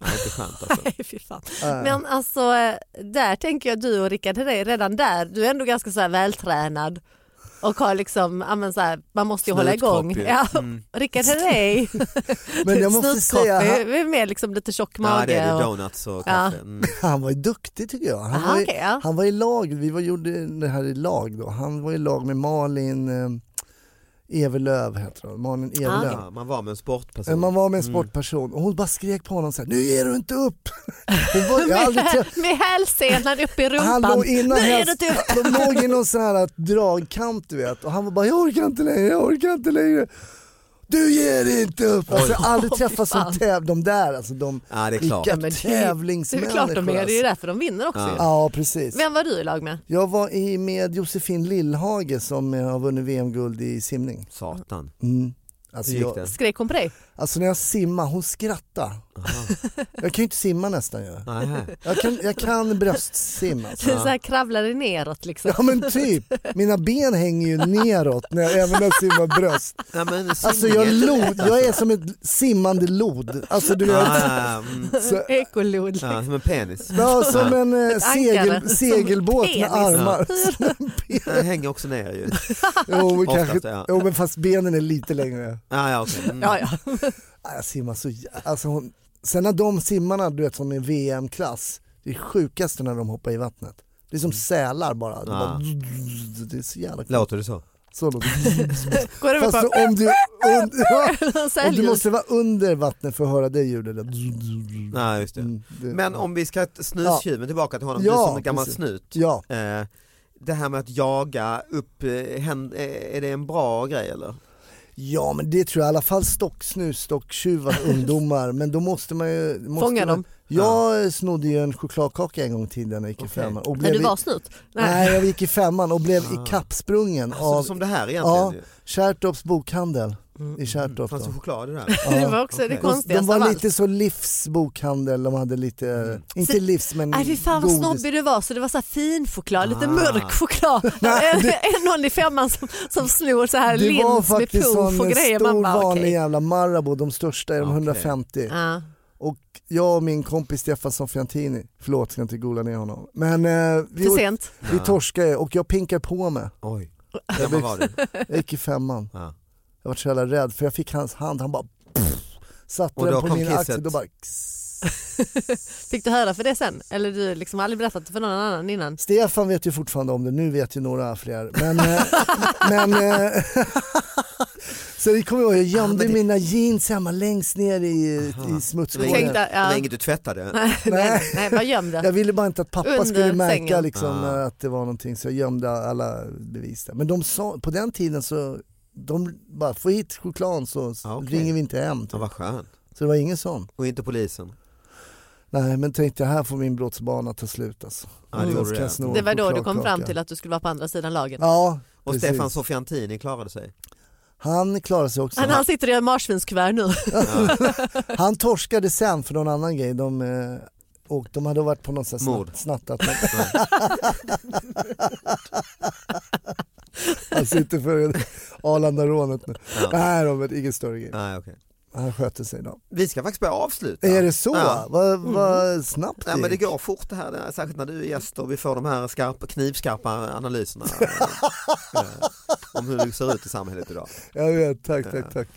[SPEAKER 6] Nej, inte skönt alltså.
[SPEAKER 3] Nej, fy fan.
[SPEAKER 4] Äh.
[SPEAKER 3] Men alltså, eh, där tänker jag du och Rickard Herrey, redan där, du är ändå ganska så här vältränad och har liksom, ja, men så här, man måste ju hålla
[SPEAKER 6] Snutkropp Mm.
[SPEAKER 3] igång.
[SPEAKER 6] ju.
[SPEAKER 3] Ja, Rickard Herrey,
[SPEAKER 4] Men jag måste
[SPEAKER 3] snutkropp,
[SPEAKER 4] säga,
[SPEAKER 3] är
[SPEAKER 4] han,
[SPEAKER 3] är mer liksom lite tjock
[SPEAKER 6] Ja, det
[SPEAKER 3] mage.
[SPEAKER 6] är det,
[SPEAKER 3] och-
[SPEAKER 6] donuts och kaffe. Mm.
[SPEAKER 4] han var ju duktig tycker jag. Han,
[SPEAKER 3] Aha,
[SPEAKER 4] var, ju,
[SPEAKER 3] okej, ja.
[SPEAKER 4] han var i lag, vi var, gjorde det här i lag då. Han var i lag med Malin eh, Evelöv heter hon, Malin
[SPEAKER 3] Ah,
[SPEAKER 4] Evelöv.
[SPEAKER 6] Ja, man var med en sportperson.
[SPEAKER 4] Men Man var med en sportperson och hon bara skrek på honom så här, nu ger du inte upp. Hon var, jag har aldrig träffat,
[SPEAKER 3] Med hälsenan upp i
[SPEAKER 4] Han
[SPEAKER 3] rumpan.
[SPEAKER 4] låg innan
[SPEAKER 3] Nu är
[SPEAKER 4] häst,
[SPEAKER 3] det typ...
[SPEAKER 4] de låg i någon sån här dragkamp du vet och han var bara jag orkar inte längre, jag orkar inte längre. Du ger inte upp! Alltså, jag har aldrig träffat
[SPEAKER 3] fan.
[SPEAKER 4] som täv de där alltså, de
[SPEAKER 6] Ja, det är klart.
[SPEAKER 4] vilka
[SPEAKER 3] men det- Det är
[SPEAKER 4] tävlingsmänniskor.
[SPEAKER 3] väl klart de är, det är ju
[SPEAKER 4] alltså.
[SPEAKER 3] därför de vinner också. ju.
[SPEAKER 4] Ja precis.
[SPEAKER 3] Vem var du i lag med?
[SPEAKER 4] Jag var i med Josefin Lillhage som eh, har vunnit VM-guld i simning.
[SPEAKER 6] Satan.
[SPEAKER 4] Alltså,
[SPEAKER 6] Hur gick
[SPEAKER 4] jag,
[SPEAKER 6] det?
[SPEAKER 3] Skrek hon på dig?
[SPEAKER 4] alltså när jag simmar, hon skrattar. Jag kan ju inte simma nästan ju.
[SPEAKER 6] Nähä.
[SPEAKER 4] Jag kan, jag kan bröstsim alltså.
[SPEAKER 3] Du så här kravlade neråt liksom.
[SPEAKER 4] Ja men typ, mina ben hänger ju neråt när jag, även när jag simmar bröst.
[SPEAKER 6] Ja, men
[SPEAKER 4] Alltså jag, lod, jag är som ett simmande lod. Alltså du vet,
[SPEAKER 6] Ah, mm.
[SPEAKER 4] så,
[SPEAKER 3] Ekolod.
[SPEAKER 6] Ja, som en penis.
[SPEAKER 4] ja, som en eh,
[SPEAKER 3] ankare.
[SPEAKER 4] segel, segelbåt
[SPEAKER 3] Som
[SPEAKER 4] med
[SPEAKER 3] penis.
[SPEAKER 4] armar.
[SPEAKER 6] Den hänger också ner ju.
[SPEAKER 4] Jo men,
[SPEAKER 6] Oftast,
[SPEAKER 4] kanske,
[SPEAKER 6] ja.
[SPEAKER 4] jo, men fast benen är lite längre.
[SPEAKER 6] Ah, ja, okej. Mm.
[SPEAKER 3] Ja, ja.
[SPEAKER 4] Ah, Jag simmar så jä- alltså, hon, Sen när de simmarna du vet som är VM-klass, det är sjukaste när de hoppar i vattnet. Det är
[SPEAKER 3] Mm.
[SPEAKER 4] som sälar bara. De
[SPEAKER 3] Ah.
[SPEAKER 4] bara det är så jävla coolt.
[SPEAKER 6] Låter det så?
[SPEAKER 4] Så låter det.
[SPEAKER 3] Går över
[SPEAKER 4] Fast
[SPEAKER 3] på
[SPEAKER 4] så om du... Und, ja.
[SPEAKER 3] en
[SPEAKER 4] Och du
[SPEAKER 3] säljus.
[SPEAKER 4] måste vara under vattnet för att höra det ljudet.
[SPEAKER 6] Nej, Ah, just det.
[SPEAKER 4] Mm. det-
[SPEAKER 6] Men om vi ska t- snustjuven tillbaka till honom,
[SPEAKER 4] Ja,
[SPEAKER 6] du som en gammal
[SPEAKER 4] precis.
[SPEAKER 6] snut.
[SPEAKER 4] Ja,
[SPEAKER 6] Eh, det här med att jaga upp, eh, händ, eh, är det en bra grej eller?
[SPEAKER 4] Ja men det tror jag, i alla fall stock, snusstocktjuvar, ungdomar. Men då måste man ju... Måste
[SPEAKER 3] Fånga
[SPEAKER 4] man,
[SPEAKER 3] dem.
[SPEAKER 4] Jag snodde ju en chokladkaka en gång i tiden när jag gick i femman. Och
[SPEAKER 3] När
[SPEAKER 4] blev
[SPEAKER 3] du
[SPEAKER 4] i-
[SPEAKER 3] var Ah. snut?
[SPEAKER 4] Nej jag gick i femman och blev ikappsprungen
[SPEAKER 6] Alltså,
[SPEAKER 4] av
[SPEAKER 6] som det här egentligen.
[SPEAKER 4] ja,
[SPEAKER 6] ju.
[SPEAKER 4] Kärrtorps bokhandel i Kärrtorp.
[SPEAKER 6] Fanns
[SPEAKER 4] då.
[SPEAKER 6] det choklad i det här?
[SPEAKER 3] Det var också det
[SPEAKER 6] okej.
[SPEAKER 3] konstigaste
[SPEAKER 4] De var
[SPEAKER 3] av allt.
[SPEAKER 4] lite så livsbokhandel, de hade lite,
[SPEAKER 6] Mm.
[SPEAKER 4] eh, inte
[SPEAKER 3] Så-
[SPEAKER 4] livs men
[SPEAKER 3] Nej fy fan vad
[SPEAKER 4] godis.
[SPEAKER 3] snobbig du var, så det var så här fin choklad, lite
[SPEAKER 6] Ah.
[SPEAKER 3] mörk choklad. En- en någon i femman som, som snor så här
[SPEAKER 4] Det var
[SPEAKER 3] lins med
[SPEAKER 4] faktiskt
[SPEAKER 3] puff
[SPEAKER 4] sån
[SPEAKER 3] och grejer.
[SPEAKER 4] stor
[SPEAKER 3] Man bara,
[SPEAKER 4] vanlig
[SPEAKER 3] okej.
[SPEAKER 4] jävla Marabou, de största är de 150.
[SPEAKER 3] Ja.
[SPEAKER 4] Och jag och min kompis Stefan Sofiantini, förlåt ska inte gola ner honom. Men eh, vi,
[SPEAKER 3] För
[SPEAKER 4] åt-
[SPEAKER 3] sent.
[SPEAKER 4] vi torskade ju och jag pinkar på mig.
[SPEAKER 6] Oj. Hur gammal var du?
[SPEAKER 4] Jag gick i femman.
[SPEAKER 6] Ja.
[SPEAKER 4] Jag var så jävla rädd för jag fick hans hand, han bara pff, satte
[SPEAKER 6] Och då
[SPEAKER 4] den på
[SPEAKER 6] kom
[SPEAKER 4] min
[SPEAKER 6] kisset.
[SPEAKER 4] axel. Då bara,
[SPEAKER 3] Fick du höra för det sen? Eller du liksom aldrig berättat för någon annan innan?
[SPEAKER 4] Stefan vet ju fortfarande om det, nu vet ju några fler. Men, eh, men, eh, så det kommer jag ihåg, jag gömde mina jeans hemma längst ner i, i
[SPEAKER 6] Det var inget-
[SPEAKER 4] smutshålet.
[SPEAKER 3] Tänkte-
[SPEAKER 6] det var
[SPEAKER 3] ja.
[SPEAKER 6] inget du tvättade?
[SPEAKER 3] Nej, nej, nej bara göm
[SPEAKER 4] Jag
[SPEAKER 3] det.
[SPEAKER 4] ville bara inte att pappa
[SPEAKER 3] Under
[SPEAKER 4] skulle märka
[SPEAKER 3] sängen.
[SPEAKER 4] liksom,
[SPEAKER 6] Ah.
[SPEAKER 4] eh, att det var någonting så jag gömde alla bevis där. Men de sa, på den tiden så, de bara få hit chokladen så s-
[SPEAKER 6] Ah, okej.
[SPEAKER 4] ringer vi inte hem.
[SPEAKER 6] Ja,
[SPEAKER 4] Typ.
[SPEAKER 6] vad skönt.
[SPEAKER 4] Så det var ingen sån.
[SPEAKER 6] Och inte polisen?
[SPEAKER 4] Nej men tänkte jag här får min brottsbana ta slut alltså.
[SPEAKER 6] Ja, det
[SPEAKER 4] Sen
[SPEAKER 6] gjorde
[SPEAKER 4] ska jag sno
[SPEAKER 6] det.
[SPEAKER 4] en
[SPEAKER 3] Det var då du kom
[SPEAKER 4] chokladkaka.
[SPEAKER 3] fram till att du skulle vara på andra sidan lagen.
[SPEAKER 4] Ja,
[SPEAKER 6] Och
[SPEAKER 4] precis.
[SPEAKER 6] Stefan Sofiantini klarade sig?
[SPEAKER 4] Han klarade sig också.
[SPEAKER 3] Han, han sitter i en marsvinskuvert nu.
[SPEAKER 4] Han torskade sen för någon annan grej. De, eh, och de hade varit på någon sån här
[SPEAKER 6] Mord.
[SPEAKER 4] snatt, snattat. Han sitter för Arlandarånet nu. Nej Robert, ingen större grej.
[SPEAKER 6] Nej, okej.
[SPEAKER 4] Han sköter sig då.
[SPEAKER 6] Vi ska faktiskt börja avsluta.
[SPEAKER 4] Är det så?
[SPEAKER 6] Ja. Mm.
[SPEAKER 4] Vad vad snabbt
[SPEAKER 6] Nej, men det
[SPEAKER 4] gick.
[SPEAKER 6] går fort det här, det här, särskilt när du är gäst och vi får de här skarpa, knivskarpa analyserna eh, om hur det ser ut i samhället idag.
[SPEAKER 4] Jag vet, tack tack tack.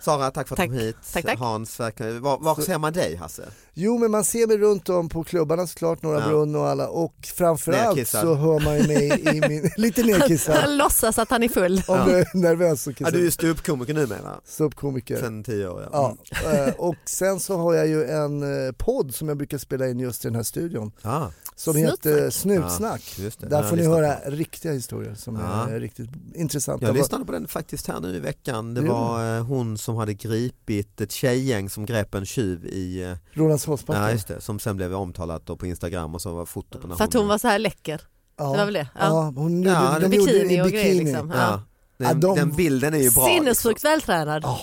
[SPEAKER 6] Sara, tack för att du kom hit.
[SPEAKER 3] Tack, tack.
[SPEAKER 6] Hans, verkligen. var, var ser man dig Hasse?
[SPEAKER 4] Jo men man ser mig runt om på klubbarna såklart, Norra
[SPEAKER 6] Ja.
[SPEAKER 4] Brunn och alla och framförallt
[SPEAKER 6] Nerkissad.
[SPEAKER 4] så hör man ju mig i min, lite nerkissad.
[SPEAKER 3] Han låtsas att han är full.
[SPEAKER 4] Om du är nervös så
[SPEAKER 6] Ja,
[SPEAKER 4] kissar
[SPEAKER 6] du är
[SPEAKER 4] du.
[SPEAKER 6] ståuppkomiker numera,
[SPEAKER 4] Ståuppkomiker.
[SPEAKER 6] sen tio år. Mm.
[SPEAKER 4] Ja, eh, och sen så har jag ju en eh, podd som jag brukar spela in just i den här studion
[SPEAKER 6] Ja.
[SPEAKER 4] som
[SPEAKER 3] Snutsnack.
[SPEAKER 4] heter Snutsnack.
[SPEAKER 6] Ja, just det.
[SPEAKER 4] Där
[SPEAKER 6] Ja,
[SPEAKER 4] får ni
[SPEAKER 6] lyssna
[SPEAKER 4] höra riktiga historier som
[SPEAKER 6] Ja.
[SPEAKER 4] är riktigt intressanta.
[SPEAKER 6] Jag lyssnade på den faktiskt här nu i veckan. Det
[SPEAKER 4] Jo.
[SPEAKER 6] var eh, hon som hade gripit ett tjejgäng som grep en tjuv i, eh,
[SPEAKER 4] Rålambshovsbacken.
[SPEAKER 6] ja, just det, som sen blev omtalat då på Instagram och så var foto på när
[SPEAKER 3] För att hon var så här läcker.
[SPEAKER 4] Ja.
[SPEAKER 3] Det var väl det?
[SPEAKER 4] Ja.
[SPEAKER 3] Ja.
[SPEAKER 4] hon gjorde,
[SPEAKER 6] Ja,
[SPEAKER 4] de
[SPEAKER 3] bikini
[SPEAKER 4] gjorde det i
[SPEAKER 3] och
[SPEAKER 4] bikini.
[SPEAKER 3] grejer liksom.
[SPEAKER 6] Ja. Den,
[SPEAKER 4] Ja, de-
[SPEAKER 6] den bilden är ju bra. liksom.
[SPEAKER 3] Sinnessjukt vältränad.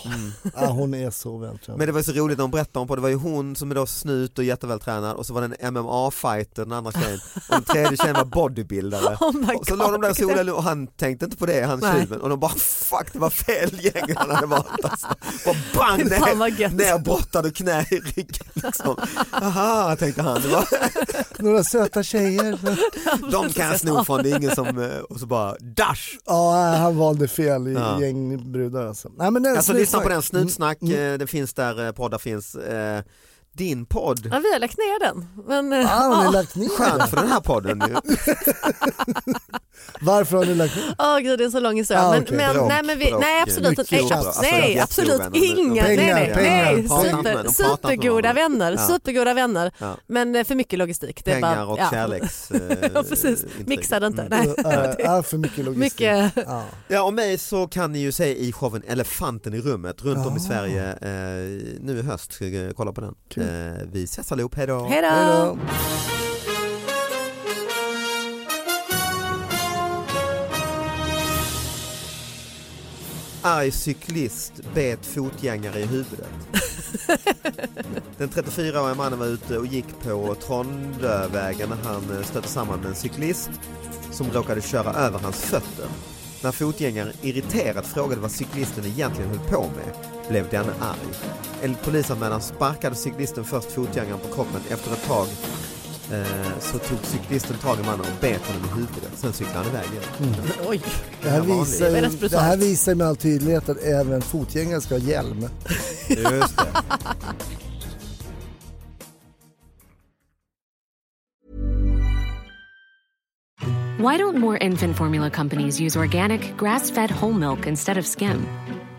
[SPEAKER 4] Ja, hon är så vältränad.
[SPEAKER 6] Men det var så roligt när hon berättade om på, det var ju hon som är då snut och jättevältränad och så var det en MMA-fighter den andra tjejen och den tredje tjejen var bodybuildare.
[SPEAKER 3] Oh my
[SPEAKER 6] och så
[SPEAKER 3] God,
[SPEAKER 6] låg de där och
[SPEAKER 3] vilket-
[SPEAKER 6] solade och han tänkte inte på det, han
[SPEAKER 3] Nej.
[SPEAKER 6] tjuven och de bara fuck det var fel gäng han hade valt alltså. Och bang
[SPEAKER 3] Fan, vad
[SPEAKER 6] ner,
[SPEAKER 3] gött.
[SPEAKER 6] nerbottad och knä i ryggen liksom. Aha, tänkte han, det var,
[SPEAKER 4] Några söta tjejer.
[SPEAKER 6] de kan jag sno från, det är ingen som, eh, och så bara dash.
[SPEAKER 4] ja, han valde fel i
[SPEAKER 6] Ja.
[SPEAKER 4] gäng brudar alltså. Nej, men den
[SPEAKER 6] Alltså lyssna på
[SPEAKER 4] Snutsnack.
[SPEAKER 6] den, Snutsnack,
[SPEAKER 3] Mm,
[SPEAKER 6] eh, den finns där eh, poddar finns. Eh, Din podd
[SPEAKER 3] Ja, vi har lagt ner den. Men, eh,
[SPEAKER 4] Ah, har ni lagt ner
[SPEAKER 6] Skönt
[SPEAKER 4] den?
[SPEAKER 6] för den här podden. ju.
[SPEAKER 4] Varför har ni lagt ner
[SPEAKER 3] Åh gud det är en så lång historia.
[SPEAKER 4] Ah,
[SPEAKER 3] men,
[SPEAKER 4] okej.
[SPEAKER 3] men,
[SPEAKER 6] Bråk,
[SPEAKER 3] nej, men vi,
[SPEAKER 6] bråk,
[SPEAKER 3] nej
[SPEAKER 6] eh,
[SPEAKER 3] absolut
[SPEAKER 4] mycket
[SPEAKER 3] inte. Nej,
[SPEAKER 4] tjafs.
[SPEAKER 3] abs-
[SPEAKER 4] Alltså,
[SPEAKER 3] nej
[SPEAKER 6] jättestora
[SPEAKER 3] absolut
[SPEAKER 6] vänner.
[SPEAKER 3] inga. Nej,
[SPEAKER 4] Pengar,
[SPEAKER 3] nej,
[SPEAKER 4] pengar,
[SPEAKER 3] nej.
[SPEAKER 4] pratar inte
[SPEAKER 6] med dem,
[SPEAKER 3] Super,
[SPEAKER 6] pratar inte med
[SPEAKER 3] supergoda
[SPEAKER 6] dem.
[SPEAKER 3] vänner.
[SPEAKER 6] Ja.
[SPEAKER 3] Supergoda vänner.
[SPEAKER 6] Ja.
[SPEAKER 3] Men eh, för mycket logistik. Det är
[SPEAKER 6] Pengar
[SPEAKER 3] bara,
[SPEAKER 6] och
[SPEAKER 3] ja.
[SPEAKER 6] kärleks... eh, Mm.
[SPEAKER 3] Ja precis, mixa det inte. Nej.
[SPEAKER 4] den? Äh, för mycket logistik.
[SPEAKER 3] Mycket.
[SPEAKER 4] Ja.
[SPEAKER 6] Ja, och mig så kan ni ju se i showen Elefanten i rummet runt
[SPEAKER 3] Ah.
[SPEAKER 6] om i Sverige eh, nu i höst. Ska jag Kolla på den. Eh, vi ses allihop, hej då!
[SPEAKER 3] Hej
[SPEAKER 4] Hej
[SPEAKER 3] då!
[SPEAKER 4] då.
[SPEAKER 6] Arg cyklist bet fotgängare i huvudet. Den 34-årige mannen var ute och gick på Trondövägen när han eh, stötte samman med en cyklist som råkade köra över hans fötter. När fotgängaren irriterat frågade vad cyklisten egentligen höll på med blev denne arg. Enligt polisanmälan sparkade cyklisten först fotgängaren på kroppen. Efter ett tag eh, så tog cyklisten tag i mannen och bet honom i huvudet. Sen cyklade han iväg igen.
[SPEAKER 3] Oj,
[SPEAKER 4] Mm. Det här,
[SPEAKER 6] Ganska vanlig.
[SPEAKER 4] visar,
[SPEAKER 3] Det
[SPEAKER 4] ju-
[SPEAKER 3] är rätt
[SPEAKER 4] det här
[SPEAKER 3] brutalt.
[SPEAKER 4] visar ju med all tydlighet att även fotgängare ska ha hjälm.
[SPEAKER 6] Just det.
[SPEAKER 7] Why don't more infant formula companies use organic, grass fed whole milk instead of skim?